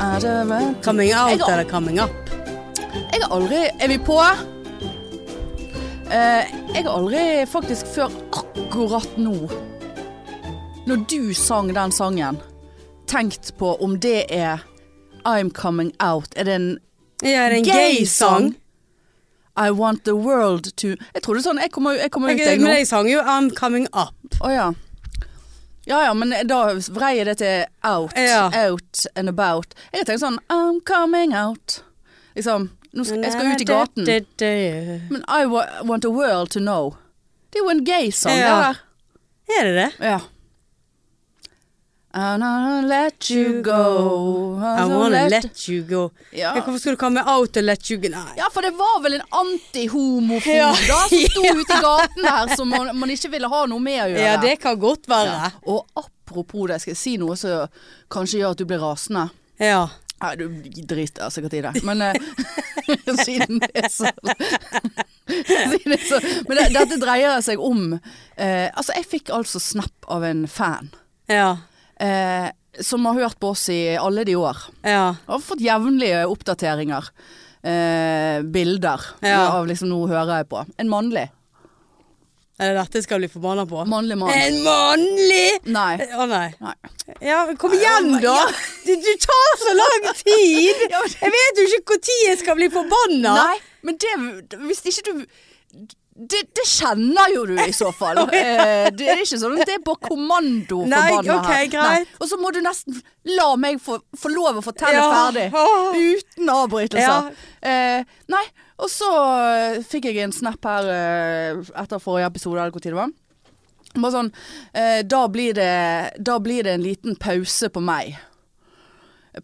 Er det vel? Coming out Jeg har- eller coming up? Jeg har aldri Er vi på? Eh, jeg har aldri faktisk før akkurat nå, når du sang den sangen, tenkt på om det er I'm coming out. Er det en Ja, det er en gay gay-sang. sang? I want the world to Jeg trodde sånn Jeg kommer, jeg kommer ut, Jeg, jeg nå. men jeg sang jo I'm coming up. Å ja. Ja ja, men da vrei jeg det til out. Ja. Out and about. Jeg tenkte sånn I'm coming out. Liksom. Nå skal, jeg skal ut i gaten. Det- det- det- Men I wa want the world to know. Det er jo en gay-sang, Ja. det der. Er det det? Ja. And I'll let you go. I I'll wanna let- Altså, let you go. Ja. Ja, hvorfor skulle du komme out og let you go? Nei. ja, for det var vel en antihomofob Ja. da, som sto ute i gaten der som man, man ikke ville ha noe med å gjøre. Ja, det kan godt være. Og apropos det, skal jeg si noe som kanskje gjør at du blir rasende? Ja. Nei, du driter sikkert i det, men eh, siden det er så Siden det er så Men det, dette dreier seg om eh, Altså, jeg fikk altså snap av en fan Ja. eh, som har hørt på oss i alle de år. Ja. Jeg har fått jevnlige oppdateringer. Eh, bilder Ja. av liksom 'nå hører jeg på'. En mannlig. Er det dette jeg skal bli forbanna på? Mannlig mann. En mannlig Nei. Å nei. Nei. Ja, men kom igjen, men- da! ja. Du, du tar så lang tid! Ja, men- Jeg vet jo ikke når jeg skal bli forbanna! Nei, men det Hvis ikke du det, det kjenner jo du i så fall. Eh, Det er ikke sånn at det er på kommando Nei, forbanna ok, her. greit. Og så må du nesten la meg få, få lov å fortelle Ja. ferdig. Åh. Uten avbrytelser. Ja. Eh, nei, og så eh, fikk jeg en snap her eh, etter forrige episode, eller hvor tid det var. Bare sånn eh, da, blir det, da blir det en liten pause på meg.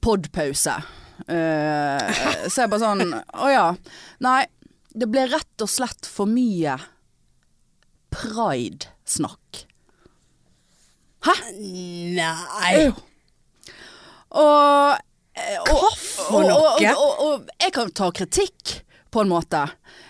Podpause. Eh, så jeg bare sånn Å ja. Nei, det ble rett og slett for mye pride-snakk. Nei. Og Hva for noe? Og, og, og, og jeg kan ta kritikk, på en måte.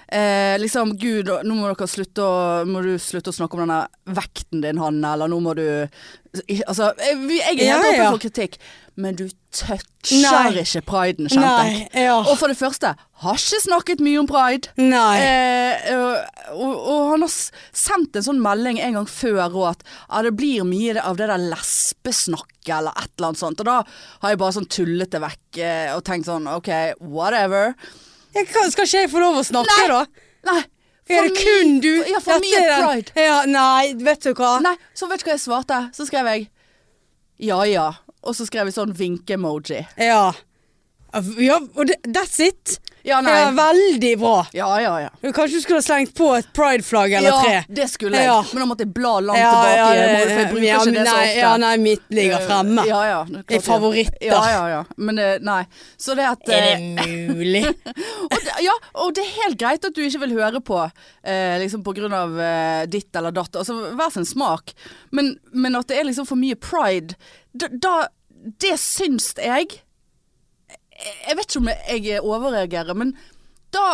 Eh, liksom, gud, nå må dere slutte å, må du slutte å snakke om denne vekten din, Hanne, eller nå må du Altså, jeg, vi- jeg er Ja, helt ja. åpen for kritikk, men du toucher Nei. ikke priden, kjente Nei. jeg. Ja. Og for det første, har ikke snakket mye om pride. Nei. Eh, og, og, og han har s- sendt en sånn melding en gang før og at ja, det blir mye av det der lesbesnakket eller et eller annet sånt. Og da har jeg bare sånn tullet det vekk eh, og tenkt sånn OK, whatever. Jeg kan, skal ikke jeg få lov å snakke, Nei. da? Nei. er det kun du? Ja, for Dette mye er den- pride. Ja, nei, vet du hva. Nei, så vet du hva jeg svarte? Så skrev jeg ja ja. Og så skrev jeg sånn vinke-emoji. Ja. ja og det, that's it. Ja, nei. Ja, veldig bra. Ja ja ja. Du kanskje du skulle ha slengt på et prideflagg Ja, eller tre. det skulle jeg. Ja. Men da måtte jeg bla langt tilbake. i emoji, for jeg bruker ja, ikke det så nei, ofte. Eh, Ja, nei, mitt ligger fremme. Ja, ja, det er klart I det. favoritter. Ja, ja, ja. Men eh, nei. Så det at Er eh, det mulig? og, det- Ja, og det er helt greit at du ikke vil høre på eh, liksom på grunn av eh, ditt eller datt. Altså hver sin smak. Men, men at det er liksom for mye pride, da, da Det syns jeg Jeg vet ikke om jeg overreagerer, men da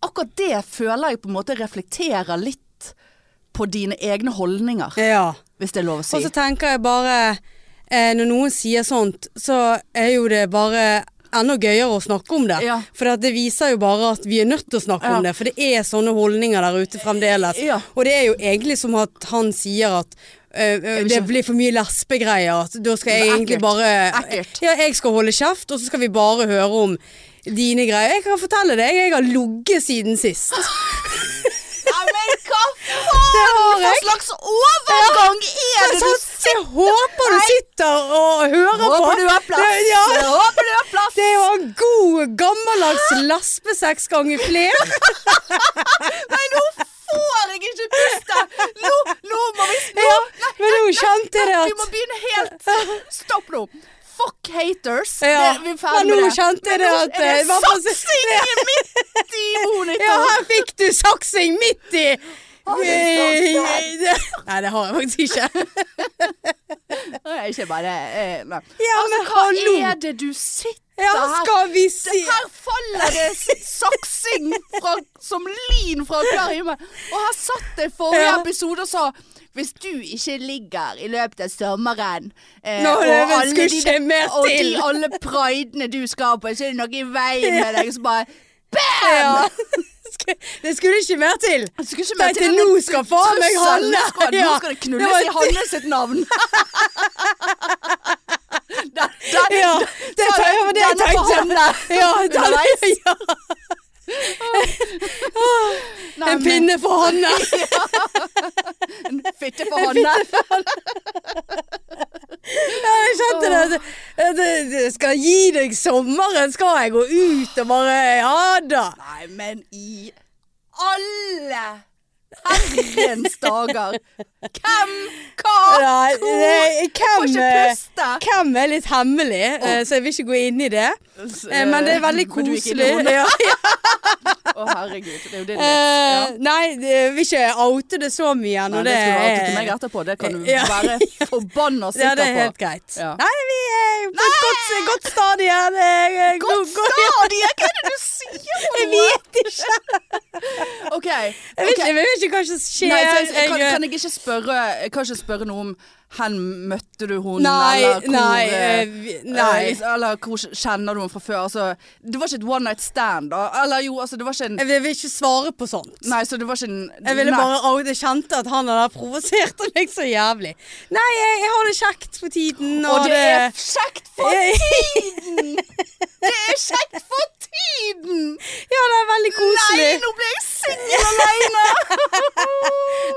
Akkurat det føler jeg på en måte reflekterer litt på dine egne holdninger, ja. hvis det er lov å si. Og så tenker jeg bare eh, Når noen sier sånt, så er jo det bare enda gøyere å snakke om det. Ja. For at det viser jo bare at vi er nødt til å snakke Ja. om det. For det er sånne holdninger der ute fremdeles. Ja. Og det er jo egentlig som at han sier at eh, eh, vil det ikke- blir for mye lesbegreier. at Da skal Det er jeg egentlig ekkelt. bare Ekkelt. Ja, jeg skal holde kjeft, og så skal vi bare høre om dine greier. Jeg kan fortelle deg, jeg har ligget siden sist. Ah, Ja, men hva faen? Hva jeg. slags overgang er det du Så jeg sånn, håper du sitter og hører på. Håper du har plass! Det- Ja, Håper du har plass! Det er jo en god, gammeldags lesbesex ganger flere. Får jeg ikke puste? Nå, nå må vi nå, nei, Men nå kjente jeg det Vi må at begynne helt Stopp nå. Fuck haters. Ja, Det, vi er men ferdig nå med det. kjente jeg det nå at er eh, hva for- Saksing i midt i hornet! Ja, her fikk du saksing midt i! du Eh, sagt Nei, det har jeg faktisk ikke. Nei, Ikke bare eh, Nei. Ja, altså, men hva hallo. er det du sitter Ja, her skal vi si Her faller det saksing fra, som lin fra klar himmel. Og her satt jeg forrige Ja. episode og sa Hvis du ikke ligger i løpet av sommeren eh, Nå, det og, alle skulle de, ikke mer og de til. alle pridene du skal på, så er det noe i veien med deg som bare Ja. Sk- Det skulle ikke mer til. Jeg skulle ikke Tenkte, nå skal faen meg Trussel, Hanne- Nå skal, nå Ja, skal det det knulles var- i Hanne sitt navn. Der- der- Ja, det der- tenk- det denne tenkte for jeg. Hanne. Ja, den, Underveis. ja. Nei, men- En pinne for Hanne. En fitte for Hanne. Ja, Jeg kjente det. Det- det- det Skal gi deg sommeren, skal jeg gå ut og bare Ja da. Nei, men i alle herrens dager. Hvem? Hva? Nei, det- Får hvem, ikke eh, puste. hvem er litt hemmelig, eh, så jeg vil ikke gå inn i det. Eh, Men det er veldig Men du gikk inn i koselig. hodet. Ja, ja. Å, herregud. Det er jo din Eh, vits. Nei, jeg vil ikke oute det så mye Ja. Nei, ennå. det skal du ha til er- meg etterpå. Det kan du Ja. være forbanna sikker Ja, det er på. helt greit. Ja. Nei, vi er på et godt, godt stadie. Det er god- god- Stadige! Hva er det du sier for Jeg noe? vet ikke. OK. Jeg vet, ok. ikke- jeg vet ikke hva som skjer. Nei, så, jeg- kan, Jeg- kan jeg ikke spørre Jeg kan ikke spørre noe om Hen møtte du hun Nei, Eller hvor nei, eh, eh, vi- nei. eh, liksom, Eller hvor kjenner du henne fra før altså, Det var ikke et one night stand da Eller jo, altså det var ikke en jeg vil- jeg vil ikke svare på sånt. Nei, så det var ikke en Jeg ville nei. bare au, jeg kjente at han hadde provosert meg så jævlig. Nei, jeg, jeg har det kjekt for tiden. Og det er det- kjekt for Jeg- tiden Det er kjekt for tiden Ja, det er veldig Nei, koselig. nå ble jeg single alene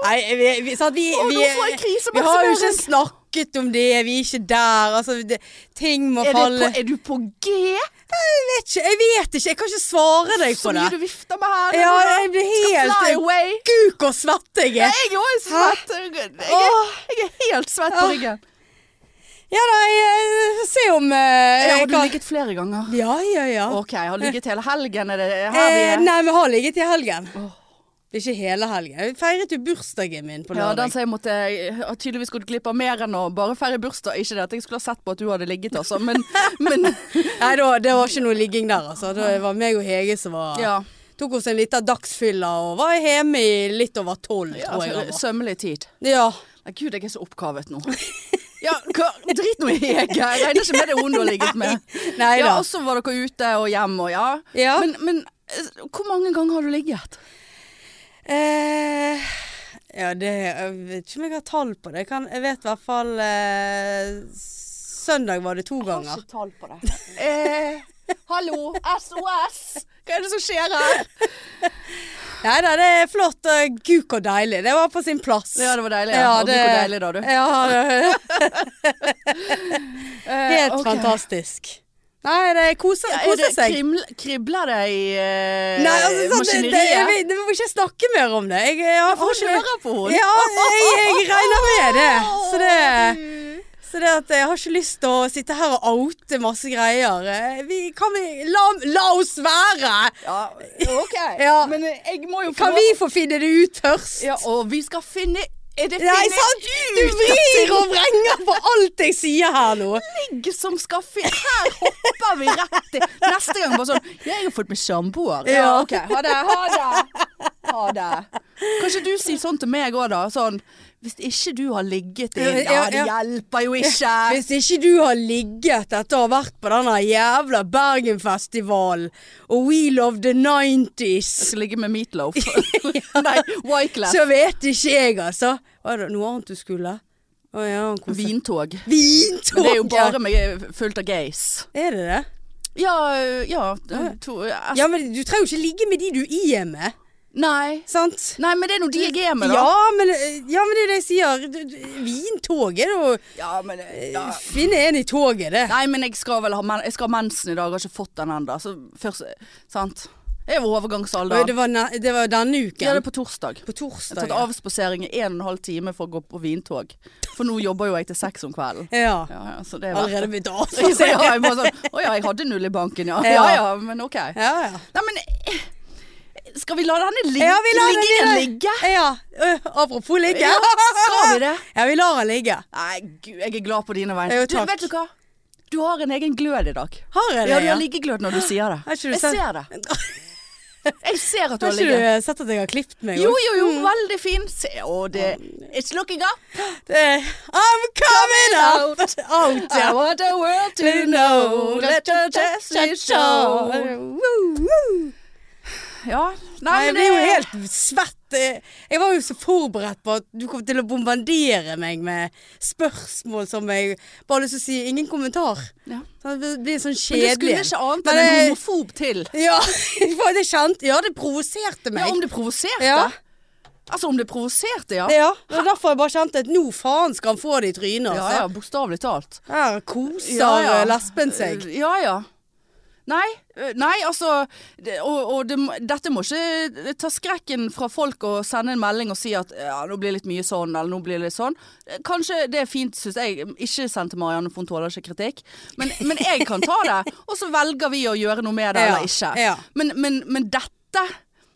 Nei, vi, vi, sant, vi, Å, vi, nå får jeg krise vi har jo ikke Maximering. snakket om det. Vi er ikke der. Altså, det, ting må er, det på, falle er du på G? Jeg vet ikke. Jeg vet ikke. Jeg kan ikke svare deg Så på mye det. du vifter med her Ja, nå, da. jeg blir Skal fly helt away Guk og svett jeg er. Jeg er også svett. Jeg er, jeg er helt svett på Åh. ryggen. Ja da, jeg eh, se om eh, Jeg har jeg du kan- ligget flere ganger. Ja, ja, ja. Ok, jeg har ligget hele helgen. Er det her vi eh, er? nei, vi har ligget i helgen. Åh. Ikke hele helgen. Jeg feiret jo bursdagen min på Ja, lørdag. den som jeg måtte jeg har tydeligvis gått glipp av mer enn å bare feire bursdag. Ikke det at jeg skulle ha sett på at du hadde ligget, altså, men, men Nei, da, det var ikke noe ligging der, altså. Det var meg og Hege som var ja. Tok oss en liten dagsfylla og var hjemme i litt over tolv, tror jeg. Altså, det var. Sømmelig tid. Ja. Nei, gud, jeg er så oppkavet nå. Ja, hva? Drit nå i Hege. Jeg regner ikke med det er hun du har ligget med. Nei Ja, da. og så var dere ute og hjemme og ja. Ja. Men, men eh, hvor mange ganger har du ligget? eh, ja, det Jeg vet ikke om jeg har tall på det. Jeg, kan, jeg vet i hvert fall eh, Søndag var det to ganger. ikke tall på det. Eh, hallo, SOS! Hva er det som skjer her? Nei da, det er flott og guk og deilig. Det var på sin plass. Ja, det var deilig. Ja. Og gud, hvor deilig da, du. Ja, det, Eh, helt ok. fantastisk. Nei, det koser, Ja, er koser det seg. kriml, kribler det i eh, Nei, altså, sånn, det, det, jeg, maskineriet? vet- jeg må ikke snakke mer om det. Jeg, jeg, har Hun fått- hører på henne! Ja, jeg, jeg regner med det. Så det, så det at jeg har ikke lyst til å sitte her og oute masse greier. Eh, Vi, kan vi La, la oss være! Ja, OK. Ja. Men eh, jeg må jo få lov- Kan vi få finne det ut først? Ja, og vi skal finne Er det Nei, finne sant? Du vrir og vrenger på alt jeg sier her nå. ligg som skal finne Her hopper vi rett i Neste gang bare sånn Ja, jeg har fått meg samboer. Ja, Ja. OK. Ha det. Ha det. Ha det. Kanskje du sier sånn til meg òg, da. Sånn Hvis ikke du har ligget i Ja, Ja, det ja. hjelper jo ikke. Hvis ikke du har ligget etter å ha vært på denne jævla Bergenfestivalen og We Love the 90s, Jeg skal ligge med Meatloaf. Nei, Wyclef. så vet ikke jeg, altså. Var det noe annet du skulle? Å ja, han koser Vintog. Vintoget! Men det er jo bare med, fullt av gays. Er det det? Ja, ja to, eh, altså, Ja, men du trenger jo ikke ligge med de du er med, Nei. sant? Nei, men det er nå de jeg er med, da. Ja, men, ja, men det er det jeg sier. Du- du- Vintoget er jo Ja, men, eh, ja. Finne en i toget, det. Nei, men jeg skal vel ha, men, jeg skal ha mensen i dag. Jeg har ikke fått den ennå. Så først Sant. Jeg er jo Oi, Det overgangsalder. var, ne- det var denne uken. Ja, det er på torsdag. på Jeg har torsdag. tatt avspasering i en og en halv time for å gå på vintog. For nå jobber jo jeg til seks om kvelden. Ja. Ja, ja, så det er verdt det. Allerede begynt å Ja, avspasere. ja, jeg bare sånn, Å ja, jeg hadde null i banken, ja. Ja. Ja ja, men ok. Ja, ja. Nei, men eh, Skal vi la denne lig Ja, vi lar den liggingen ligge. ligge? Ja. Ø, apropos ligge. Ja, skal vi det? Ja, vi lar den ligge. Nei, gud, jeg er glad på dine Jo, vegne. Du, takk. vet du hva? Du har en egen glød i dag. Har jeg det? Ja, du har liggeglød når du sier det. Har ikke du Jeg sett- ser det. Jeg ser at du Har har ikke ligget. du eh, sett at jeg har klippet meg? Jo, Mm. også? jo, jo, veldig fin. Se, å, det It's looking up. Det er Eh, I'm coming out! out I ja. want the world to know that your destiny show. Woo, woo. Ja. Nei, Nei, men jeg ble jo det- helt svett. Jeg jeg var jo så forberedt på at du kom til å bombardere meg med spørsmål som jeg bare har lyst til å si ingen kommentar. ja. Så Det blir sånn Men det kjedelig. skulle ikke annet Men enn en det- homofob til. Ja, for det kjente Ja, det provoserte Ja, meg. om det provoserte. Ja. Altså, om det provoserte, ja. Ja, det var derfor jeg bare kjente at nå faen skal han få det i trynet, Ja, altså. ja, bokstavelig talt. Her koser eh, lesben seg. Ja, ja. Nei, eh, nei altså det, Og, og det, må- dette må ikke eh, ta skrekken fra folk og sende en melding og si at ja, nå blir det litt mye sånn, eller nå blir det litt sånn. Eh, Kanskje det er fint, syns jeg. Ikke send til Marianne, for hun tåler ikke kritikk. Men, men jeg kan ta det, og så velger vi å gjøre noe med det Ja, eller ikke. ja. Men, men, men dette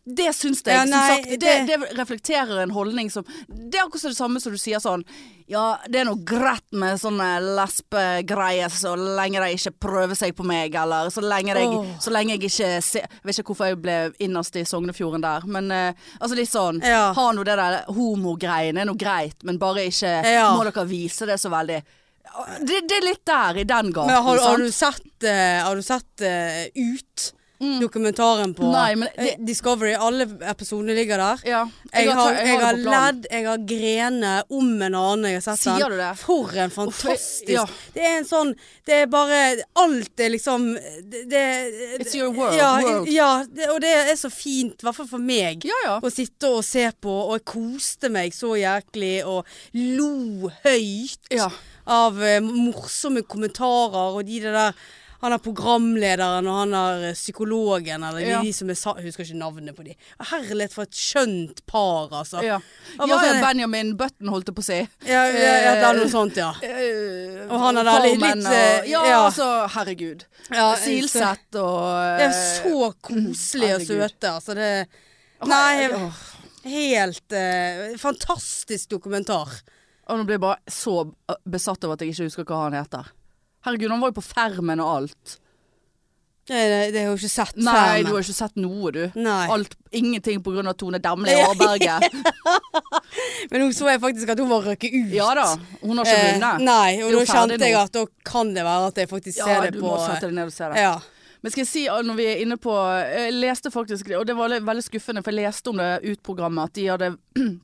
det syns jeg, Ja, som nei, sagt, det, det, det- reflekterer en holdning som Det er akkurat det samme som du sier sånn Ja, det er noe greit med sånne lesbegreier så lenge de ikke prøver seg på meg, eller så lenge, jeg, Åh. så lenge jeg ikke ser Jeg vet ikke hvorfor jeg ble innerst i Sognefjorden der, men eh, altså litt sånn Ja. Ha nå det der homogreiene, er noe greit, men bare ikke Ja. Må dere vise det så veldig det, det er litt der, i den gaten. Men har, har sant? Mm. du sett, eh, har du sett eh, Ut? Dokumentaren på Nei, men det- eh, Discovery. Alle episodene ligger der. ja, Jeg ta- har, jeg det har på planen. ledd, jeg har grene om en annen jeg har sett Sier den. du det? For en Uff, fantastisk jeg- ja. Det er en sånn Det er bare Alt er liksom det, det, It's your world, Ja, world. ja det, og det er så fint, i hvert fall for meg. Ja, ja. Å sitte og se på, og jeg koste meg så jæklig, og lo høyt Ja. av eh, morsomme kommentarer, og de det der han er programlederen, og han er eh, psykologen, eller de, Ja. de som er sa... Jeg husker ikke navnet på de. Herlighet for et skjønt par, altså. Ja. Ja, Ja, bare ja, sånn- Benjamin Button holdt jeg på å si. Ja, ja, ja, det er noe sånt, ja. Eh, Og han er da litt- Formen litt, og, eh, Ja, ja. altså, herregud. Ja, Silseth og eh, Det er så koselig og herregud. søte, altså. Det Åh, Nei, åh. helt eh, Fantastisk dokumentar. Og nå blir jeg bare så eh, besatt av at jeg ikke husker hva han heter. Herregud, han var jo på Fermen og alt. Det, det, det har jeg jo ikke sett Nei, Fermen. du har ikke sett noe, du. Nei. Alt, ingenting på grunn av Tone Damli og Berget. Men nå så jeg faktisk at hun var røkket ut. Ja da, hun har ikke Eh, vunnet. nei, Det og er da jo ferdig kjente jeg nå. at da kan det være at jeg faktisk Ja, ser du det på eh, må sette deg ned og se det. Ja. Men skal jeg si, ah, når vi er inne på eh, Jeg leste faktisk, og det var litt- veldig skuffende, for jeg leste om det utprogrammet, at de hadde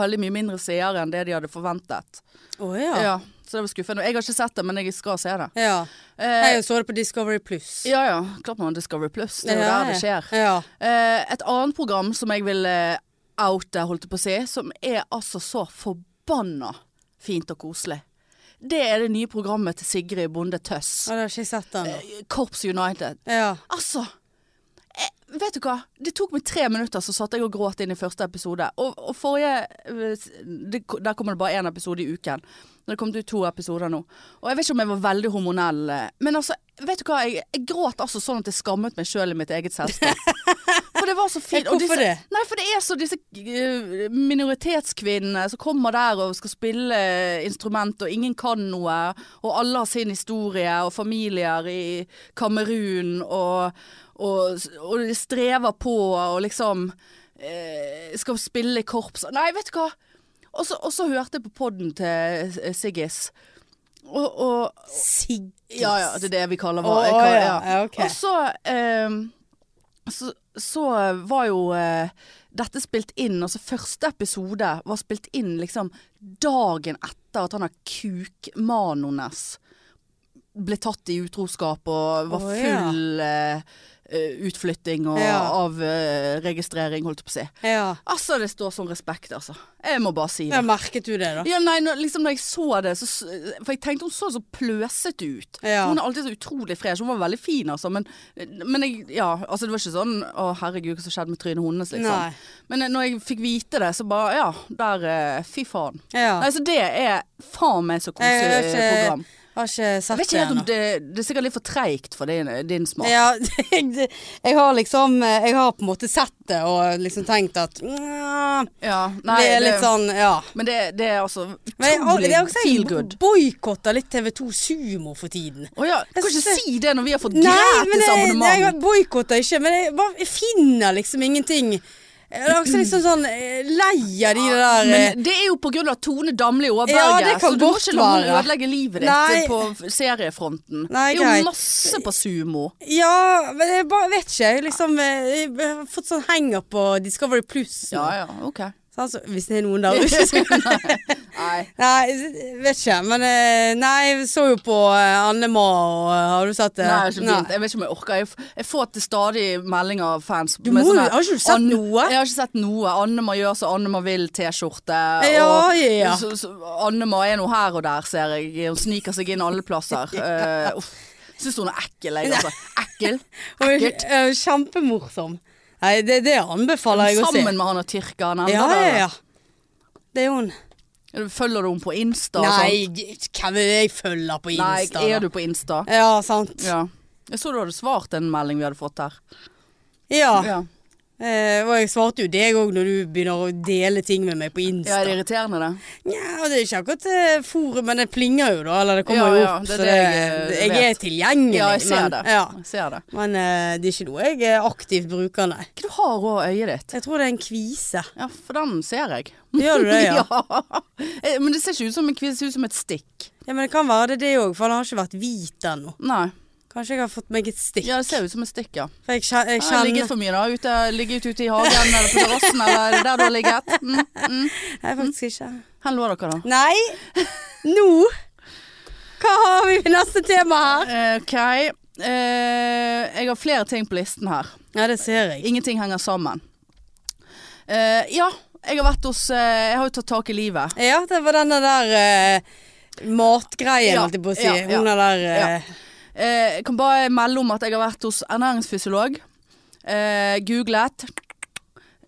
veldig mye mindre seere enn det de hadde forventet. Å ja. Ja. ja. så det var skuffende. Og Jeg har ikke sett det, men jeg skal se det. Eh, Jeg så det på Discovery Pluss. ja ja, klart man har Discovery Plus, det er jo der det skjer. Ja. Eh, et annet program som jeg vil eh, oute, holdt jeg på å si, som er altså så forbanna fint og koselig. Det er det nye programmet til Sigrid Bonde Tøss. Ja, det har ikke jeg sett ennå. Eh, Korps United. Ja. Altså jeg, Vet du hva? Det tok meg tre minutter, så satt jeg og gråt inn i første episode. Og, og forrige eh, det, Der kommer det bare én episode i uken. Det har kommet ut to episoder nå. Og jeg vet ikke om jeg var veldig hormonell, eh, men altså Vet du hva? Jeg, jeg gråt altså sånn at jeg skammet meg sjøl i mitt eget selskap. For det var så fint. Og Hvorfor disse- det? Nei, for det er så disse eh, minoritetskvinnene som kommer der og skal spille eh, instrument, og ingen kan noe. Og alle har sin historie, og familier i Kamerun, og, og, og de strever på, og liksom eh, Skal spille i korps. Nei, vet du hva. Og så, og så hørte jeg på podden til eh, Siggis. Og, og, Sigg. ja, ja, det er det vi kaller Å, hva. jeg å, kaller- ja. Ja, ok. Og så, ehm, så, så var jo eh, dette spilt inn, altså første episode var spilt inn liksom dagen etter at han har kukmanones ble tatt i utroskap og var Å, ja. full eh, eh, utflytting og Ja. avregistrering, holdt jeg på å si. Ja. Altså, det står sånn respekt, altså. Jeg må bare si det. ja. Merket du det, da? Ja, nei, når, liksom når jeg så det så, s- For jeg tenkte hun så så pløsete ut Ja. Hun er alltid så utrolig fresh Hun var veldig fin altså Men, men jeg, ja, altså det var ikke sånn Å herregud, hva som skjedde med trynet hennes liksom Nei. Men eh, når jeg fikk vite det Så bare, ja, der, eh, fy faen Ja. Nei, så det er faen meg så Jeg har koselig ikke- program Har ikke Jeg sett vet det ikke helt om ennå. det, det er sikkert litt for treigt for din, eh, din smak. Ja, jeg, jeg har liksom Jeg har på en måte sett det og liksom tenkt at mm, Ja, nei, Det er litt sånn, ja. Men det, det er altså Men jeg, har- det utrolig er også feel jeg good. boikotter litt TV2 Sumo for tiden. Å ja, du Jeg kan ikke synes- si det når vi har fått Nei, men gratis jeg, jeg abonnement. boikotter ikke, men jeg, bare, jeg finner liksom ingenting. Jeg er også liksom sånn eh, lei av de der eh, Men det er jo pga. Tone Damli Aaberge, Ja, det kan så du må godt ikke la henne være. ødelegge livet ditt Nei. på f- seriefronten. Nei, det er greit. jo masse på sumo. Ja, men jeg bare vet ikke. Jeg, liksom, eh, jeg har fått sånn henger på Discovery Plus. Ja ja, OK. Altså, hvis det er noen der ute som Nei. Nei, vet ikke. Men eh, nei, jeg så jo på eh, Anne Ma, og eh, har du sett det? Nei, jeg, har ikke begynt. jeg vet ikke om jeg orker. Jeg, f- jeg får til stadig meldinger av fans. Du må jo- har ikke du sett noe? Jeg har ikke sett noe. Annema gjør som Annema vil-T-skjorte. Ja, og ja. Så, så, Annema er nå her og der, ser jeg. Hun sniker seg inn alle plasser. Eh, uff. Syns hun er ekkel, jeg, altså. Ekkel. Hun er Ekkelt. eh, kjempemorsom. Nei, det, det anbefaler jeg å se. Sammen med han og Tyrka. han Ja, ender ja, der. ja. Det er hun. Følger du henne på Insta? og Nei, sånt? sånn, g- hvem er det jeg følger på Insta? Nei, da? er du på Insta? Ja, sant. Ja. Jeg så du hadde svart en melding vi hadde fått her. Ja. Ja, Eh, og jeg svarte jo deg òg når du begynner å dele ting med meg på ja Insta. er det irriterende, det? Nja, det er ikke akkurat eh, forum, men det plinger jo da, eller det kommer Ja, jo ja, opp. det er så det jeg, det- eh, jeg er vet. tilgjengelig. Ja, jeg ser men, det. Ja. Jeg ser det. Men eh, det er ikke noe jeg er aktivt bruker, nei. Hva du har over øyet ditt? Jeg tror det er en kvise. Ja, for den ser jeg. Gjør du det, ja? Eh, Men det ser ikke ut som en kvist, det ser ut som et stikk. Ja, Men det kan være det det òg, for den har ikke vært hvit ennå. Nei. Kanskje jeg har fått meg et stikk. Ja, det ser ut som et stikk, ja. For jeg kjen- jeg Jeg har kjenner ligget for mye, da. Ute, ligget ute i hagen eller på terrassen eller der du har ligget. Mm, mm. Nei, faktisk ikke. Hvor lå dere, da? Nei, nå Hva har vi i neste tema her? Eh, OK. Eh, jeg har flere ting på listen her. Ja, det ser jeg. Ingenting henger sammen. Eh, ja, jeg har vært hos eh, Jeg har jo tatt tak i livet. Ja, det var denne der eh, matgreien, Ja, holdt jeg på å si. ja, ja. Hun er der eh, Eh, jeg kan bare melde om at jeg har vært hos ernæringsfysiolog. Eh, googlet.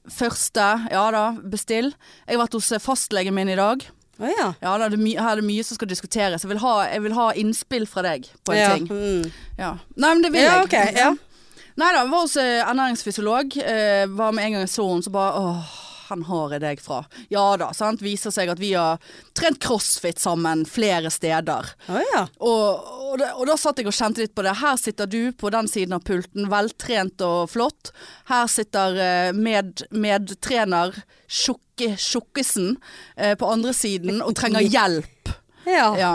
Første, ja da, bestill. Jeg har vært hos eh, fastlegen min i dag. Å ja. Ja da, det er my Her er det mye som skal diskuteres. Jeg vil ha, jeg vil ha innspill fra deg på en ja. ting. Mm. Ja. Nei, men det vil Ja, jeg. ok, ja. Nei da, var hos eh, ernæringsfysiolog. Eh, var med en gang jeg så henne, så bare åh, han har jeg deg fra. Ja da, sant. Viser seg at vi har trent crossfit sammen flere steder. Å ja. Og, og, da, og da satt jeg og kjente litt på det. Her sitter du på den siden av pulten, veltrent og flott. Her sitter eh, med, medtrener tjukke tjukkesen eh, på andre siden og trenger hjelp. ja. Ja.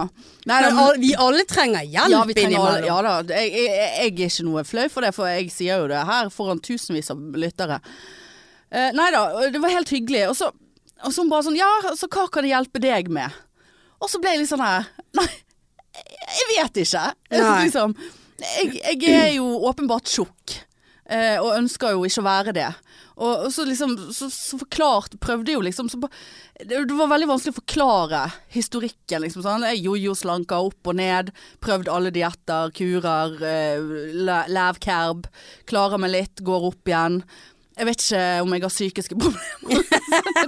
Nei, Men da, al- vi alle trenger hjelp ja, vi trenger alle. innimellom. Ja da. Jeg, jeg, jeg er ikke noe flau for det, for jeg sier jo det her foran tusenvis av lyttere. Eh, nei da, og det var helt hyggelig. Og så, og så hun bare sånn Ja, så hva kan jeg hjelpe deg med? Og så ble jeg litt sånn her Nei, jeg vet ikke. Nei. Liksom, jeg, jeg er jo åpenbart tjukk. eh, og ønsker jo ikke å være det. Og, og så liksom Så, så forklart Prøvde jo liksom så, ba- det, det var veldig vanskelig å forklare historikken, liksom. Sånn. Jeg jojo slanka opp og ned. Prøvd alle dietter, kurer, uh, levkerb. Klarer meg litt, går opp igjen. Jeg vet ikke om jeg har psykiske problemer. ja,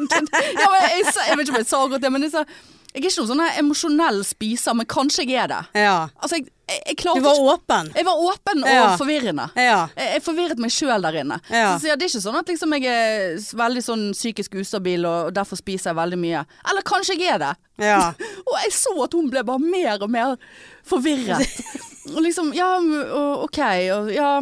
men jeg, sa- jeg vet ikke om jeg sa godt det, men jeg sa Jeg er ikke noen sånn her emosjonell spiser, men kanskje jeg er det. Ja. Altså, jeg, jeg, jeg Du klarte var ikke åpen. Jeg var åpen og Ja. forvirrende. Ja. Jeg, jeg forvirret meg sjøl der inne. Ja. Så, så ja, Det er ikke sånn at liksom, jeg er s- veldig sånn psykisk ustabil og, og derfor spiser jeg veldig mye. Eller kanskje jeg er det. ja. Og jeg så at hun ble bare mer og mer forvirret. Og liksom Ja, m- og, OK. Og, ja.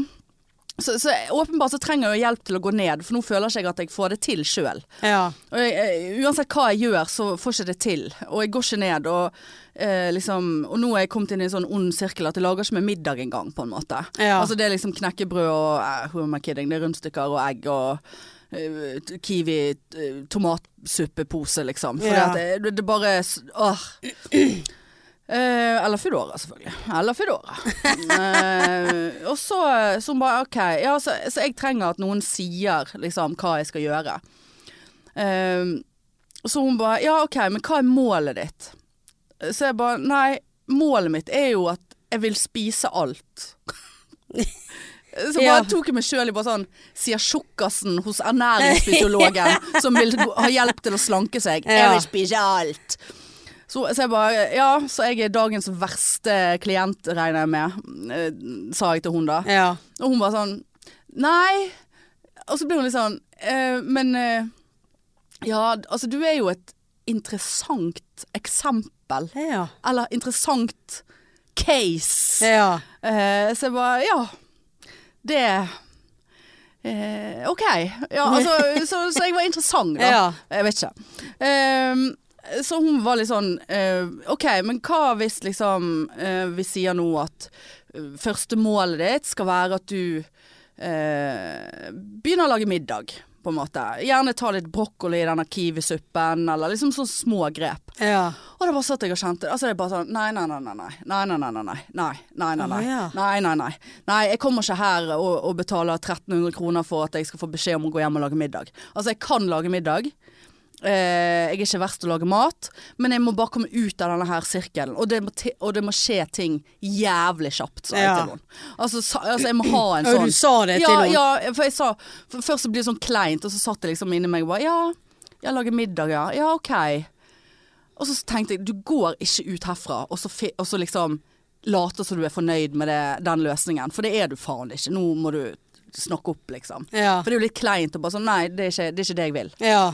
Så, så åpenbart så trenger jeg jo hjelp til å gå ned, for nå føler ikke jeg at jeg får det til sjøl. ja. Og jeg, jeg, uansett hva jeg gjør, så får ikke det til. Og jeg går ikke ned. Og, eh, liksom, og nå er jeg kommet inn i en sånn ond sirkel at jeg lager ikke meg middag engang, på en måte. Ja. Altså det er liksom knekkebrød og eh, who am I kidding, det er rundstykker og egg og eh, t- kiwi, t- tomatsuppepose, liksom. For Ja. det, at det, det er bare s- Åh. Eh, eller Foodora, selvfølgelig. Eller Foodora. Eh, og så, så hun bare OK, ja, så, så jeg trenger at noen sier liksom hva jeg skal gjøre. Ehm, så hun bare Ja, OK, men hva er målet ditt? Så jeg bare Nei, målet mitt er jo at jeg vil spise alt. Så Ja. bare tok jeg meg sjøl i bare sånn Sier tjukkasen hos ernæringsfysiologen som vil gå- ha hjelp til å slanke seg. Jeg Ja. vil spise alt. Så, så jeg bare Ja, så jeg er dagens verste klient, regner jeg med, eh, sa jeg til hun da. Ja. Og hun var sånn Nei. Og så ble hun litt sånn «Eh, Men eh, ja, altså du er jo et interessant eksempel. Ja. Eller interessant case. ja. Eh, så jeg bare Ja. Det eh, OK. Ja, altså så, så jeg var interessant, da. Ja. Jeg vet ikke. Ehm, så hun var litt sånn eh, OK, men hva hvis liksom eh, vi sier nå at eh, første målet ditt skal være at du eh, begynner å lage middag, på en måte. Gjerne ta litt brokkoli i denne kiwisuppen, eller liksom sånne små grep. ja. Og det bare satt jeg og kjente Altså det er bare sånn Nei, nei, nei, nei, nei, nei, nei, nei, nei, nei, nei, nei, nei, Å, nei, ja. nei, nei, nei, nei, jeg kommer ikke her og, og betaler 1300 kroner for at jeg skal få beskjed om å gå hjem og lage middag. Altså jeg kan lage middag. Eh, jeg er ikke verst til å lage mat, men jeg må bare komme ut av denne her sirkelen. Og det må, ti- og det må skje ting jævlig kjapt, sa jeg Ja. til henne. Altså, sa, altså jeg må ha en Ja, sånn du sa det til ja, henne. Ja, for jeg sa for Først så blir det sånn kleint, og så satt det liksom inni meg og bare Ja, jeg lager middag, ja. Ja, OK. Og så tenkte jeg, du går ikke ut herfra, og så, fi, og så liksom later som du er fornøyd med det, den løsningen. For det er du faen ikke. Nå må du snakke opp, liksom. Ja. For det er jo litt kleint å bare sånn Nei, det er ikke det, er ikke det jeg vil. Ja.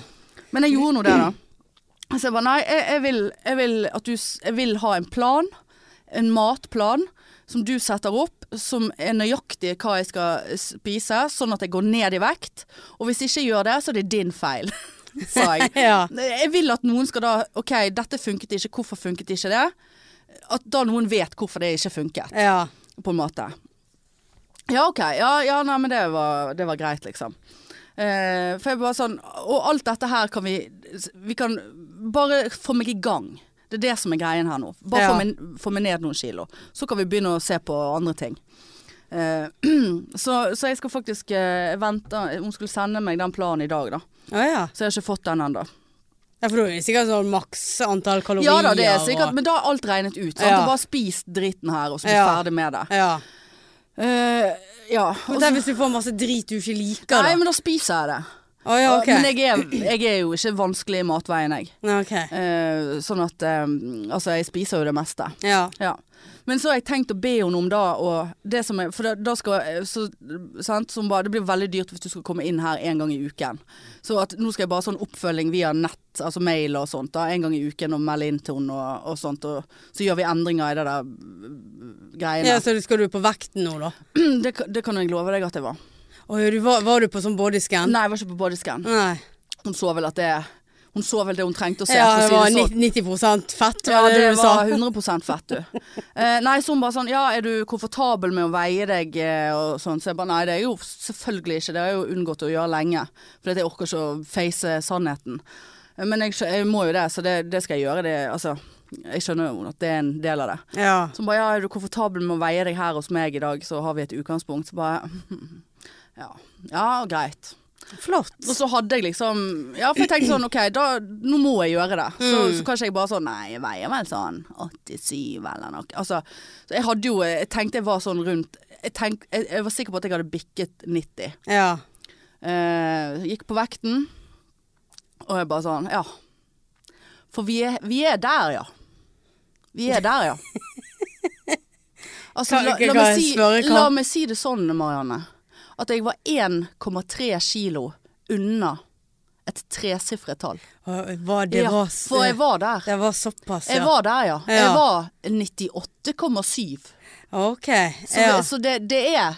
Men jeg gjorde nå det, da. Så jeg bare nei, jeg, jeg, vil, jeg, vil at du, s- jeg vil ha en plan. En matplan som du setter opp, som er nøyaktig hva jeg skal spise, sånn at jeg går ned i vekt. Og hvis ikke jeg gjør det, så er det din feil, sa jeg. Ja. Jeg vil at noen skal da OK, dette funket ikke, hvorfor funket ikke det? At da noen vet hvorfor det ikke funket Ja. på en måte. Ja, OK. Ja, ja nei, men det var, det var greit, liksom. Eh, for jeg bare sånn Og alt dette her kan vi Vi kan bare få meg i gang. Det er det som er greien her nå. Bare Ja. få, meg, få meg ned noen kilo. Så kan vi begynne å se på andre ting. Eh, så, så jeg skal faktisk eh, vente Hun skulle sende meg den planen i dag, da. Å ja. Så jeg har ikke fått den ennå. ja. For da er det sikkert sånn maks antall kalorier. Ja da, det er sikkert, og- men da er alt regnet ut. Sant? Ja. Og bare spis driten her, og så bli Ja. ferdig med det. Ja. Eh, ja. og Men det så- er hvis du får masse drit du ikke liker, da. Nei, men da spiser jeg det. Å ja, ok. Men jeg er, jeg er jo ikke vanskelig i matveien, jeg. Nei, ok. Eh, sånn at eh, Altså, jeg spiser jo det meste. Ja. Ja. Men så har jeg tenkt å be henne om da og det som er, For da, da skal eh, så, sant, som bare, Det blir veldig dyrt hvis du skal komme inn her en gang i uken. Så at nå skal jeg bare sånn oppfølging via nett, altså mail og sånt, da, en gang i uken og melde inn til henne og, og sånt. Og så gjør vi endringer i det der eh, greiene. ja, så skal du på vekten nå, da? Det, kan- det kan jeg love deg at jeg var. Å ja, du var, var du på sånn bodyscan? Nei, jeg var ikke på bodyscan. Nei. Hun så vel at det Hun så vel det hun trengte å se. Ja, for å det si var sånn. 90 90 fett, Ja, var det, det du var sa? 100 fett, du. Eh, nei, så hun bare sånn Ja, er du komfortabel med å veie deg eh, og sånn? Så jeg bare Nei, det er jo selvfølgelig ikke. Det har jeg jo unngått å gjøre lenge. For at jeg orker ikke å face sannheten. Eh, Men jeg, skjø- jeg må jo det, så det, det skal jeg gjøre. Det, altså, jeg skjønner jo at det er en del av det. Ja. Så hun bare Ja, er du komfortabel med å veie deg her hos meg i dag, så har vi et utgangspunkt. Så bare Ja, ja greit. Flott. Og så hadde jeg liksom Ja, for jeg tenkte sånn OK, da, nå må jeg gjøre det. Så, så kanskje jeg bare sånn Nei, jeg veier vel sånn 87 eller noe. Altså, så jeg hadde jo Jeg tenkte jeg var sånn rundt jeg, tenk, jeg, jeg var sikker på at jeg hadde bikket 90. Ja. Eh, gikk på vekten, og jeg bare sånn Ja. For vi er, vi er der, ja. Vi er der, ja. Altså, Kan- la, kan la, meg jeg si, spørre hva- la meg si det sånn, Marianne. At jeg var 1,3 kilo unna et tesifret tall. Å, Var det ja, var s- for jeg var der. Det var såpass, Jeg eh, ja. var der, ja. Jeg Ja. var 98,7. OK. Så, Ja. det, så det, det er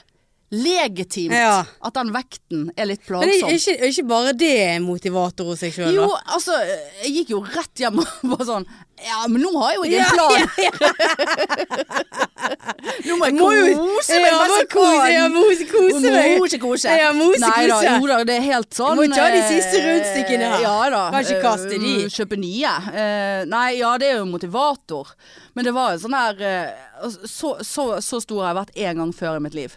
legitimt Ja. at den vekten er litt Men plagsom. er ikke, er ikke bare det en motivator hos seg sjøl, sånn. da? Jo, altså, jeg gikk jo rett hjem og bare sånn Ja, men nå har jo jeg Ja, en plan! nå må jeg Må jo- kose meg Ja, mens må jeg kose- kan. ja, mose- kose Må meg. Mose kose. Ja, mose Nei da, kose. jo da, det er helt sånn. Du må ta de eh, siste rundstykkene her. Ja da. Kan ikke kaste eh, de. Kjøpe nye. Eh, Nei, ja, det er jo en motivator. Men det var en sånn her eh, altså, Så, så, så stor har jeg vært én gang før i mitt liv.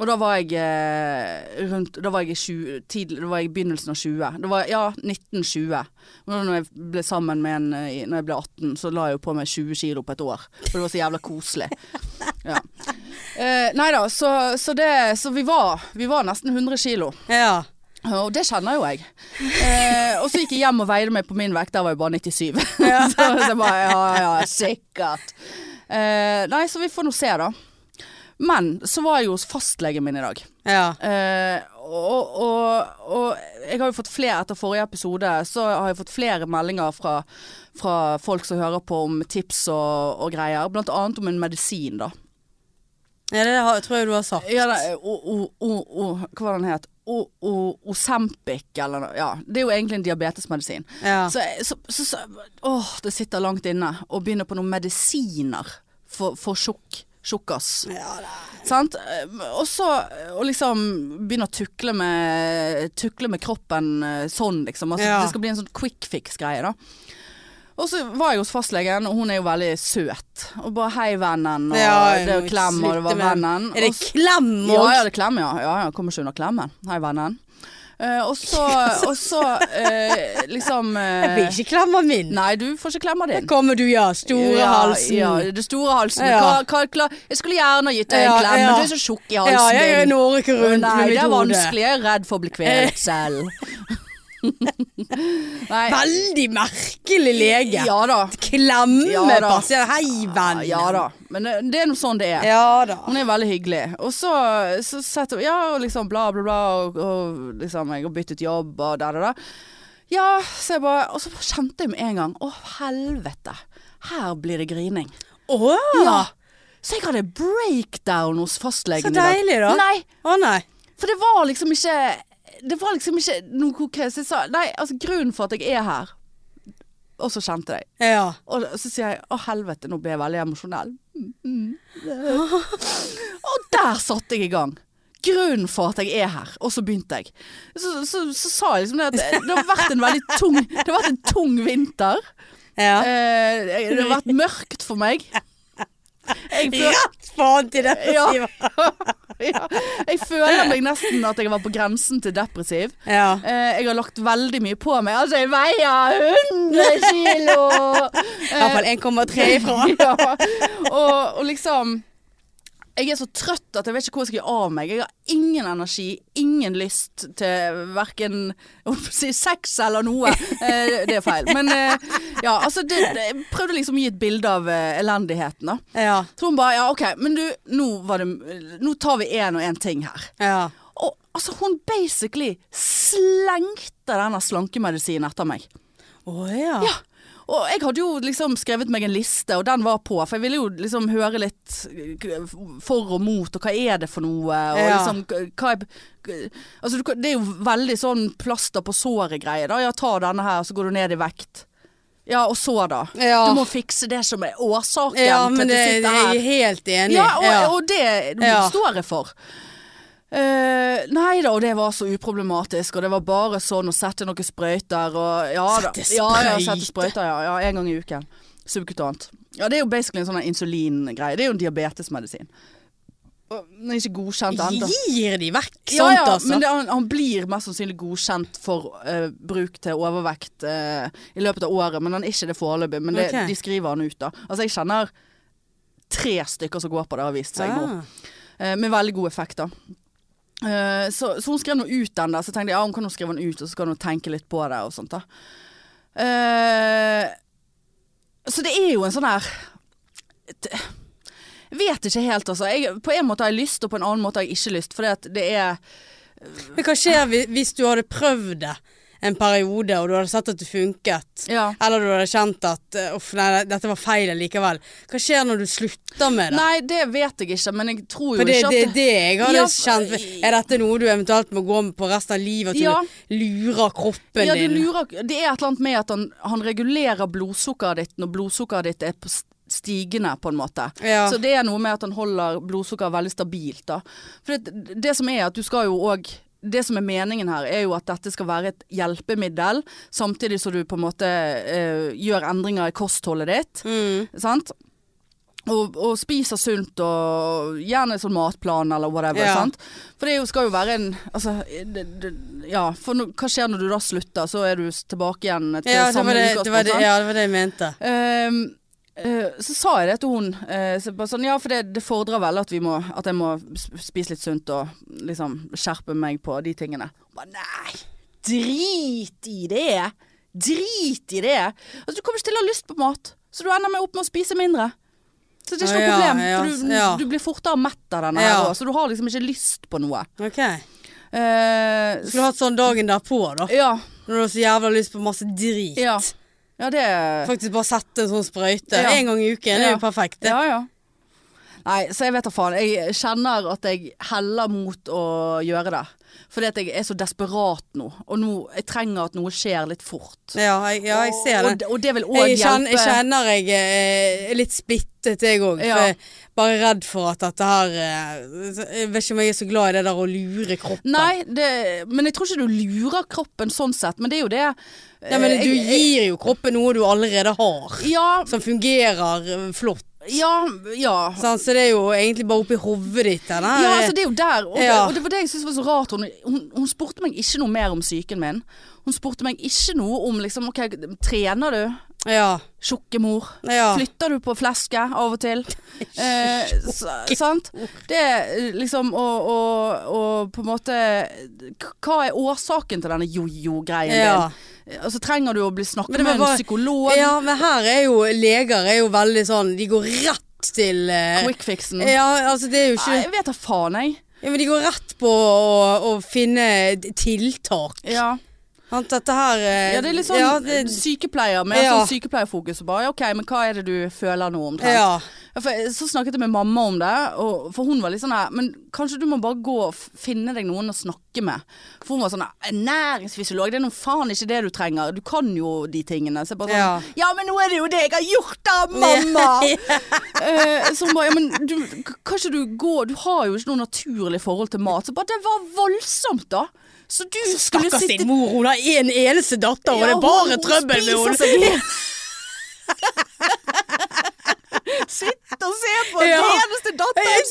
Og da var jeg eh, rundt Da var jeg i 20, tidlig, da var jeg i begynnelsen av 20. Det var, ja, 1920. Og da når jeg ble sammen med en eh, i- Når jeg ble 18, så la jeg jo på meg 20 kilo på et år. For det var så jævla koselig. Ja. Eh, nei da, så, så det Så vi var, vi var nesten 100 kilo. Ja. Og det kjenner jo jeg. Eh, og så gikk jeg hjem og veide meg på min vekt, der var jeg bare 97. så, så jeg bare ja, ja, sikkert. Eh, nei, så vi får nå se, da. Men så var jeg hos fastlegen min i dag. Ja. Eh, og, og, og jeg har jo fått flere etter forrige episode, så har jeg fått flere meldinger fra, fra folk som hører på om tips og, og greier. Blant annet om en medisin, da. ja, det har, tror jeg du har sagt. Ja, det, o, o, o, o, hva var den het? O, o, Osempic, eller noe. Ja, det er jo egentlig en diabetesmedisin. Ja. Så, eh, så, så, så Åh, det sitter langt inne å begynne på noen medisiner for, for tjukk. Tjukkas. Ja, det Sant? Eh, Og så eh, å liksom begynne å tukle med, tukle med kroppen eh, sånn, liksom. Altså, Ja. Det skal bli en sånn quick fix-greie, da. Og så var jeg hos fastlegen, og hun er jo veldig søt. Og bare 'hei, vennen', og Ja, det er må jo klem, og det slutte var med- vennen. Er det Og så- klem òg? ja, ja, det klem, ja. ja, ja kommer ikke unna klemmen. Hei, vennen. Eh, og så, og så eh, liksom eh, Jeg vil ikke klemme min. Nei, du får ikke klemma din. Kommer du, ja. Store ja, halsen. Ja, det store halsen. Ja. Hva, hva, kla- jeg skulle gjerne gitt deg en Ja, klem, ja. men du er så tjukk i halsen ja, jeg din. når ikke rundt Nei, med det mitt er hode. vanskelig. Jeg er redd for å bli kvelt selv. Nei. Veldig merkelig lege. Ja da. Klemme Ja, da. pasient. Hei, venn. Ja da. Men det, det er nå sånn det er. Ja da. Hun er veldig hyggelig. Og så, så setter hun Ja, og liksom bla, bla, bla. Og, og liksom Jeg har byttet jobb, og da, da, da. Ja, så jeg bare Og så bare kjente jeg med en gang Å, helvete. Her blir det grining. Å Ja. Så jeg hadde breakdown hos fastlegen Så deilig, da. Nei, Å nei. for det var liksom ikke Det var liksom ikke noe konkret. Så jeg sa Nei, altså grunnen for at jeg er her Og så kjente jeg Ja. og så sier jeg 'Å, helvete, nå ble jeg veldig emosjonell'. Mm, mm. og der satte jeg i gang. Grunnen for at jeg er her. Og så begynte jeg. Så, så, så sa jeg liksom det at det har vært en veldig tung Det har vært en tung vinter. ja. Eh, det har vært mørkt for meg. Jeg føl- Rett faen til dette, Ja. Siv. ja. Jeg føler meg nesten at jeg var på grensen til depressiv. Ja. Eh, jeg har lagt veldig mye på meg. Altså, jeg veier 100 kilo! I hvert Eh, fall 1,3 ifra. ja. og, og liksom Jeg er så trøtt at jeg vet ikke hvor jeg skal gjøre av meg. Jeg har ingen energi, ingen lyst til verken jeg holdt på å si sex eller noe. Eh, det er feil. Men eh, ja, altså det, det, Jeg prøvde liksom å gi et bilde av eh, elendigheten, da. Ja. Så hun bare ja, OK, men du, nå, var det, nå tar vi én og én ting her. Ja. Og altså, hun basically slengte denne slankemedisinen etter meg. Å ja. Ja. Og jeg hadde jo liksom skrevet meg en liste, og den var på. For jeg ville jo liksom høre litt eh, for og mot, og hva er det for noe? Og Ja. liksom hva er Altså, du kan- det er jo veldig sånn plaster på såret-greie. da. Ja, ta denne her, så går du ned i vekt. Ja, og så da. Ja. Du må fikse det som er årsaken Ja, til men at du det, sitter her. jeg er helt enig. Ja, og, og det Ja. står jeg for. Eh, nei da, og det var så uproblematisk, og det var bare sånn å sette noen sprøyter og ja, da. Sette Ja, ja, sprøyte. sette sprøyter, ja, ja, en gang i uken. Subkutant. Ja, det er jo basically en sånn insulingreie. Det er jo en diabetesmedisin. Og Den er ikke godkjent ennå. Gir de vekk Ja, sånt, ja, altså? men det, han, han blir mest sannsynlig godkjent for eh, bruk til overvekt eh, i løpet av året, men han er ikke det foreløpig. Men det, Ok. de skriver han ut, da. Altså, jeg kjenner tre stykker som går på det, har vist seg nå. Ah. Eh, med veldig god effekt, da. Eh, så, så hun skrev nå ut den der, så tenkte jeg ja, hun kan jo skrive den ut, og så kan hun tenke litt på det og sånt, da. Eh, så det er jo en sånn her t- Jeg vet ikke helt, altså. Jeg, på en måte har jeg lyst, og på en annen måte har jeg ikke lyst. For det er Men hva skjer hvi- hvis du hadde prøvd det en periode, og du hadde sett at det funket? Ja. Eller du hadde kjent at eh, uff, nei, dette var feil likevel. Hva skjer når du slutter med det? Nei, det vet jeg ikke, men jeg tror jo For det ikke er at det, det jeg hadde Ja, kjent. Er dette noe du eventuelt må gå med på resten av livet? At Ja. du lurer kroppen ja, du din? lurer, det er et eller annet med at han, han regulerer blodsukkeret ditt når blodsukkeret ditt er på s- stigende, på en måte. Ja. Så det er noe med at han holder blodsukkeret veldig stabilt. Da. For det, det som er at du skal jo òg det som er meningen her, er jo at dette skal være et hjelpemiddel, samtidig som du på en måte eh, gjør endringer i kostholdet ditt. Mm. Sant? Og, og spiser sunt og gjerne sånn matplan eller whatever. Ja. Sant? For det er jo, skal jo være en altså, det, det, Ja, for nå- hva skjer når du da slutter? Så er du s- tilbake igjen til Ja, det samme var det, det, utgangspunkt. var det, sant? ja, det var det jeg mente. Ehm, eh, så sa jeg det til hun. eh, så bare sånn, ja, for det, det fordrer vel at, vi må, at jeg må sp- spise litt sunt og liksom skjerpe meg på de tingene. Hun bare nei, drit i det. Drit i det. Altså, du kommer ikke til å ha lyst på mat, så du ender med opp med å spise mindre. Så det er ikke noe Ja, problem, ja, for du, ja. du blir fortere mett av denne her Ja. også, så du har liksom ikke lyst på noe. Ok. Eh, Skulle hatt sånn dagen derpå, da. ja, Når du har så jævla lyst på masse drit. ja. Ja, det Faktisk bare sette en sånn sprøyte Ja. en gang i uken. Det er Ja. jo perfekt. Det. Ja, ja. Nei, så jeg vet da faen. Jeg kjenner at jeg heller mot å gjøre det. Fordi at jeg er så desperat nå. Og nå, jeg trenger at noe skjer litt fort. Ja, jeg, ja, jeg ser Og, det. og, og det vil òg Jeg kjenner, hjelpe. jeg kjenner jeg eh, er litt splittet, jeg òg. Ja. Bare redd for at dette her eh, Jeg vet ikke om jeg er så glad i det der å lure kroppen. Nei, det, men jeg tror ikke du lurer kroppen sånn sett. Men det er jo det. Nei, men Eh, du jeg- jeg- gir jo kroppen noe du allerede har, Ja, som fungerer eh, flott. ja, ja. sant? Så det er jo egentlig bare oppi hodet ditt. Denne. Ja, her- altså det er jo der. Og, Ja. og det var det jeg syntes var så rart. Hun, hun, hun spurte meg ikke noe mer om psyken min. Hun spurte meg ikke noe om liksom OK, trener du? ja. Tjukke mor. ja. Flytter du på fleske av og til? Eh, s- sant? Det er liksom og, og, og på en måte k- Hva er årsaken til denne jojo-greien Ja. din? Og så trenger du å bli Men snakket det var med en bare- psykolog. ja, men her er jo leger er jo veldig sånn De går rett til eh, Quickfixen. Ja, altså det er jo ikke Nei, Jeg vet da faen, jeg. Ja, men de går rett på å, å finne d- tiltak. Ja. Sant, dette her eh, Ja, det er litt sånn ja, det, sykepleier med Ja. sånn sykepleierfokus. Og bare, ja, ok, men hva er det du føler nå omtrent? ja. Ja, For jeg- så snakket jeg med mamma om det, og, for hun var litt sånn her Men kanskje du må bare gå og f- finne deg noen å snakke med. For hun var sånn her Ernæringsfysiolog, det er nå faen ikke det du trenger. Du kan jo de tingene. Så jeg bare sånn Ja, Ja. men nå er det jo det jeg har gjort da, mamma! Eh, så hun bare Ja, men du, k- kan ikke du gå Du har jo ikke noe naturlig forhold til mat. Så bare Det var voldsomt, da! Så du skulle Stakkars sitte din mor, hun har én eneste datter, og Ja, det er bare hun- hun trøbbel med spiser henne. Sitt og se på Ja. den eneste datteren spiser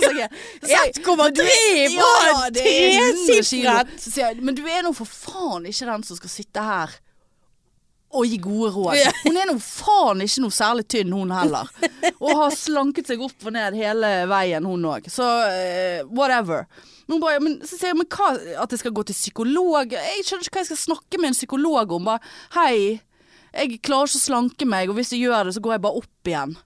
seg igjen. Så sa jeg, 1,3 på Ja, det er 100 kilo. tresifret. Så sier jeg, Men du er nå for faen ikke den som skal sitte her og gi gode råd. Ja. Hun er nå faen ikke noe særlig tynn, hun heller. Og har slanket seg opp og ned hele veien, hun òg. Så eh, whatever. Men, hun bare, men så sier jeg men hva, at jeg skal gå til psykolog. Jeg skjønner ikke hva jeg skal snakke med en psykolog om. Bare hei, jeg klarer ikke å slanke meg, og hvis jeg gjør det, så går jeg bare opp igjen.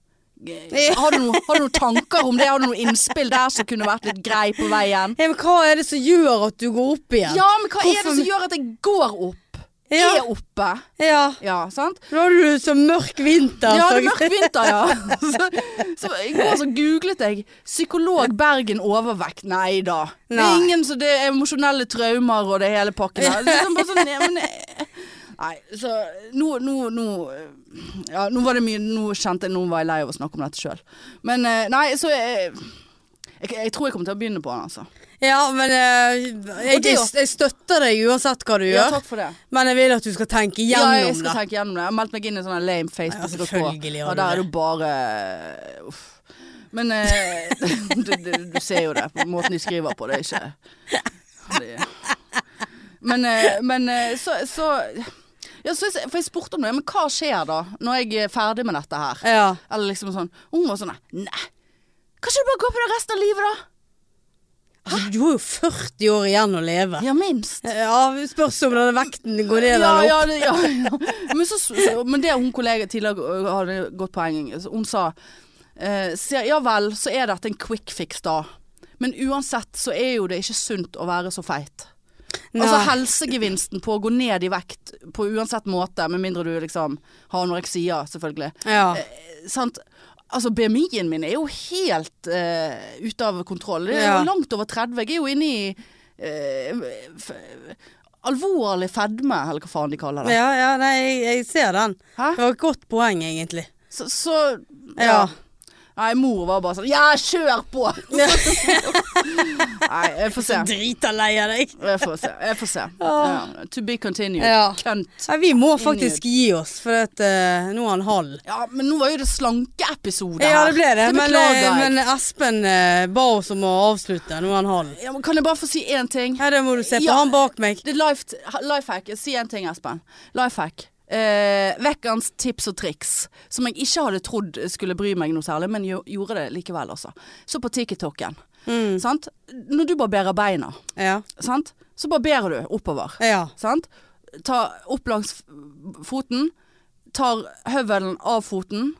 Eh, Har du, noen, har du noen tanker om det? Har du noen innspill der som kunne vært litt grei på veien? Ja, men hva er det som gjør at du går opp igjen? Ja, men hva er det Hvorfor- som gjør at jeg går opp? Ja. Er oppe. ja. Ja, sant? Nå har du så mørk vinter. Ja, så- det er mørk vinter, ja. Så, så I går så googlet jeg 'psykolog Bergen overvekt'. Nei da. Det er Nei. ingen så det er emosjonelle traumer og det hele pakken her. Det er liksom bare sånn, ja, men, eh, nei, så nå, nå, nå eh, Ja, nå var det mye Nå kjente jeg Nå var jeg lei av å snakke om dette sjøl. Men eh, nei, så eh, jeg, jeg tror jeg kommer til å begynne på den, altså. Ja, men eh, Og jeg, det jeg, også. støtter deg uansett hva du Ja, gjør, takk for det. men jeg vil at du skal tenke Ja, jeg gjennom skal det. tenke gjennom det. Jeg har meldt meg inn i sånn lame Ja, Facebook.k. selvfølgelig har Ja, du der er det. du bare Uff. Men eh, du, du, du ser jo det på måten de skriver på. Det er ikke det. Men, eh, men eh, så, så ja, så jeg, For jeg spurte om det. Men hva skjer da, når jeg er ferdig med dette her? Ja. Eller liksom sånn Hun var sånn Nei, kan ikke du bare gå på det resten av livet, da? Du, du har jo 40 år igjen å leve. Ja, minst. Ja, spørs om denne vekten går ned ja, eller opp. ja, det, ja, ja. Men, så, så, men det hun kollega tidligere ø, hadde et godt poeng. Så Hun sa eh, sier, ja vel, så er dette en quick fix da. Men uansett så er jo det ikke sunt å være så feit. Altså Nei. helsegevinsten på å gå ned i vekt på uansett måte, med mindre du liksom har anoreksia, selvfølgelig. Ja. Sant? Altså BMI-en min er jo helt eh, ute av kontroll. Det er Ja. jo langt over 30. Jeg er jo inne i eh, f- alvorlig fedme, eller hva faen de kaller det. ja, ja, nei, jeg, jeg ser den. Hæ? Det var et godt poeng, egentlig. Så, så ja. Ja. Nei, mor var bare sånn Ja, kjør på! Nei, jeg får se. Drita lei av deg. Jeg får se. Jeg får se. Ah. Ja. To be continued. Ja. Kønt. Nei, vi må faktisk gi oss, for at, eh, nå er han halv. Ja, men nå var jo det slankeepisode her. Ja, det ble det, Det men, beklager eh, jeg. men Espen eh, ba oss om å avslutte. Nå er han halv. Ja, men kan jeg bare få si én ting? Ja, det må du se på. Ja. Han bak meg. Det er life, life hack. Si en ting, Espen. Life hack. eh, vekkens tips og triks. Som jeg ikke hadde trodd skulle bry meg noe særlig, men jo, gjorde det likevel, altså. Så på TikToken. Mm. Sant? Når du barberer beina, Ja. sant? så barberer du oppover. ja. Sant? Ta opp langs f- foten, tar høvelen av foten,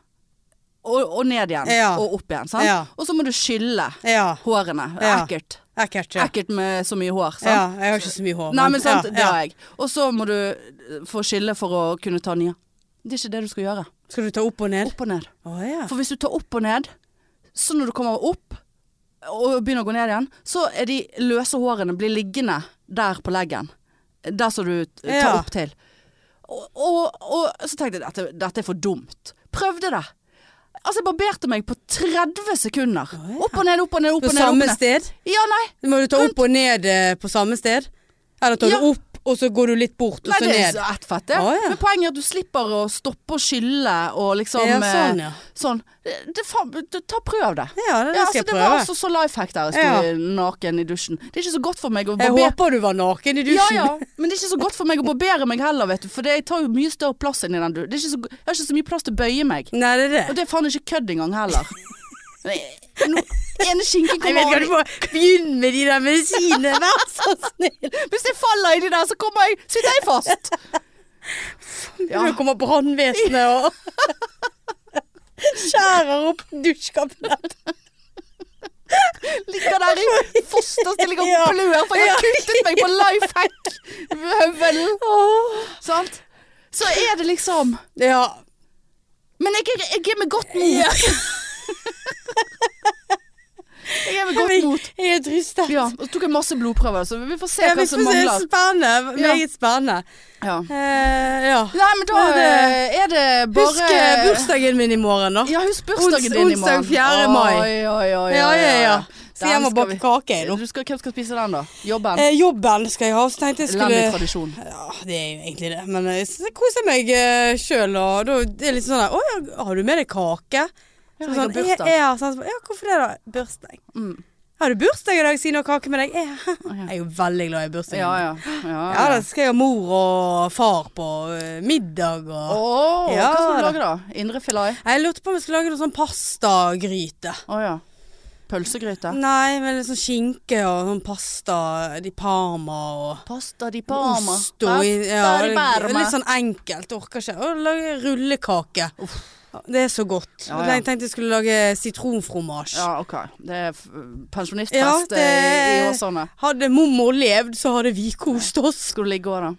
og, og ned igjen. Ja. Og opp igjen. Sant? Ja. Og så må du skylle ja. hårene. Ja. Ekkelt. Ekkelt. Ja. Ekkelt med så mye hår. Sant? ja. Jeg har ikke så mye hår. Nei, men sant, det ja, har ja. jeg. Og så må du eh, få skille for å kunne ta nye. Det er ikke det du skal gjøre. Skal du ta opp og ned? Opp og ned. Å ja. For hvis du tar opp og ned, så når du kommer opp og begynner å gå ned igjen, så er de løse hårene blir liggende der på leggen. Der som du t- tar Ja. opp til. Og, og, og så tenkte jeg dette, dette er for dumt. Prøvde det. Altså, jeg barberte meg på 30 sekunder. Opp og ned, opp og ned, opp På og ned. samme opp og ned. sted? Ja, nei. Må du ta opp og ned eh, på samme sted? Eller tar Ja. du opp, og så går du litt bort, og Nei, så det er ned? så ett fett, det. Å, ja. Men poenget er at du slipper å stoppe og skylle og liksom Ja, eh, sånn, ja. sånn. Det, det, faen, du- ta prøv det. Ja, det, det Ja, skal altså, jeg det prøve. var altså så life hack der jeg sto Ja. naken i dusjen. Det er ikke så godt for meg å Jeg barbere håper du var naken ja, i dusjen. ja. Men det er ikke så godt for meg å barbere meg heller, vet du. For det tar jo mye større plass enn i den du- Det er ikke så, Jeg har ikke så mye plass til å bøye meg. Nei, det er det. Og det er faen ikke kødd engang heller. Nei, Nå, ene skinken Jeg vet kommer ikke, du av. må begynne med de der medisinene, vær så snill. Hvis jeg faller i de der, så kommer jeg Sitter jeg fast. Ja. Nå kommer brannvesenet og skjærer opp dusjkabinettet. Ligger der i fosterstilling og Ja. blør, for jeg har kuttet meg på life hack-høvelen. Sant? Så er det liksom Ja. Men jeg, er- jeg er med godt mot. Ja. Jeg er med Jeg godt mot. jeg er drystet. Ja, og så tok jeg masse blodprøver, så vi får se Jeg hva vet som ikke, det er mangler. spennende. Ja. Meget spennende. Ja. Eh, ja. Nei, men da Men det- eh, er det bare Husk eh, bursdagen min i morgen, da. Ja, husk bursdagen Ons- din i morgen. onsdag 4. Oi, mai. oi, oi, oi, Ja, ja, ja. Så Den jeg må skal bake vi- kake jeg, nå. Du skal, hvem skal spise den, da? Jobben? Eh, jobben skal jeg ha, så tenkte jeg Landet skulle tradisjon. Ja, det er jo egentlig det. Men jeg s- koser meg eh, sjøl, og da det er litt sånn der Å ja, har du med deg Ja, kake? Så jeg har sånn, bursdag. Ja, sånn, ja, hvorfor det, da? Bursdag. Mm. Har du bursdag i dag, siden du har kake med deg? Ja. ja. Jeg er jo veldig glad i bursdag. Ja, ja. ja, Ja, da skal jeg ha mor og far på eh, middag og Åh, Ja, hva skal du da. lage, da? Indre filet? Jeg lurte på om jeg skulle lage noe sånn pastagryte. Å ja. Pølsegryte? Nei, men litt sånn skinke og sånn pasta di parma og Pasta di parma. Ost og ja, Pasta di parma. Litt sånn enkelt. Orker ikke. Og lage rullekake. Det er så godt. Ja, ja. Jeg tenkte jeg skulle lage sitronfromasje. Ja, OK. Det er f- pensjonistfest Ja, eh, i det- Åsane. Hadde mormor levd, så hadde vi kost oss. Skal du ligge òg, da?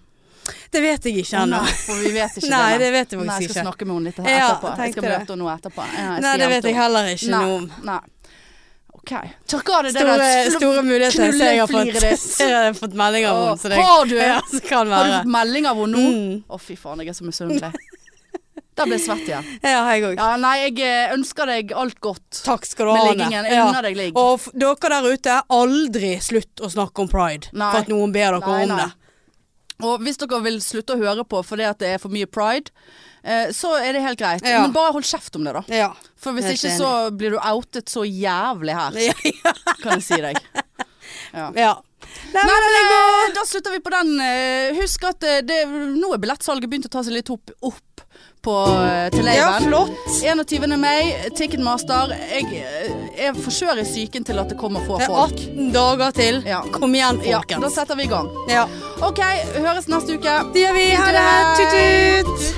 Det vet jeg ikke Å, ennå. nei, for vi vet ikke Nei, nei. det vet jeg Nei, faktisk jeg skal ikke. snakke med henne litt etterpå. Ja, jeg skal tenkte det. møte henne etterpå. Ja, jeg Nei, skal det hjem vet til jeg heller ikke henne. noe om. Nei. nei. OK. Takk av deg det Store, der fl- store muligheter. Så jeg har fått, knullefliret ditt. jeg har fått melding av Å, henne. Så det Har du? ja, så kan Har du være. fått melding av henne nå? Å, Mm. fy faen, jeg er så misunnelig. Da ble jeg svett igjen. Ja, jeg òg. Ja, nei, jeg eh, ønsker deg alt godt Takk skal du med ha, liggingen. Jeg Ja. unner deg ligg. Og f dere der ute, aldri slutt å snakke om pride. Nei. For at noen ber dere Nei, om nei. det. Og hvis dere vil slutte å høre på fordi at det er for mye pride, eh, så er det helt greit. Ja. Men bare hold kjeft om det, da. Ja. For hvis Helt ikke så blir du outet så jævlig her, Ja. kan jeg si deg. ja. Nei, Nei, men men det går. eh, da slutter vi på den. Eh, Husk at eh, det, nå er billettsalget begynt å ta seg litt opp, opp på, eh, til Ja, laven. flott. 21. mai, Ticketmaster. Jeg eh, er forskjører psyken til at det kommer få Det er folk. 18 dager til. Ja. Kom igjen, Ja, da folkens. setter vi i gang. Ja. OK, høres neste uke. Det gjør vi. Ha det. Tut-tut.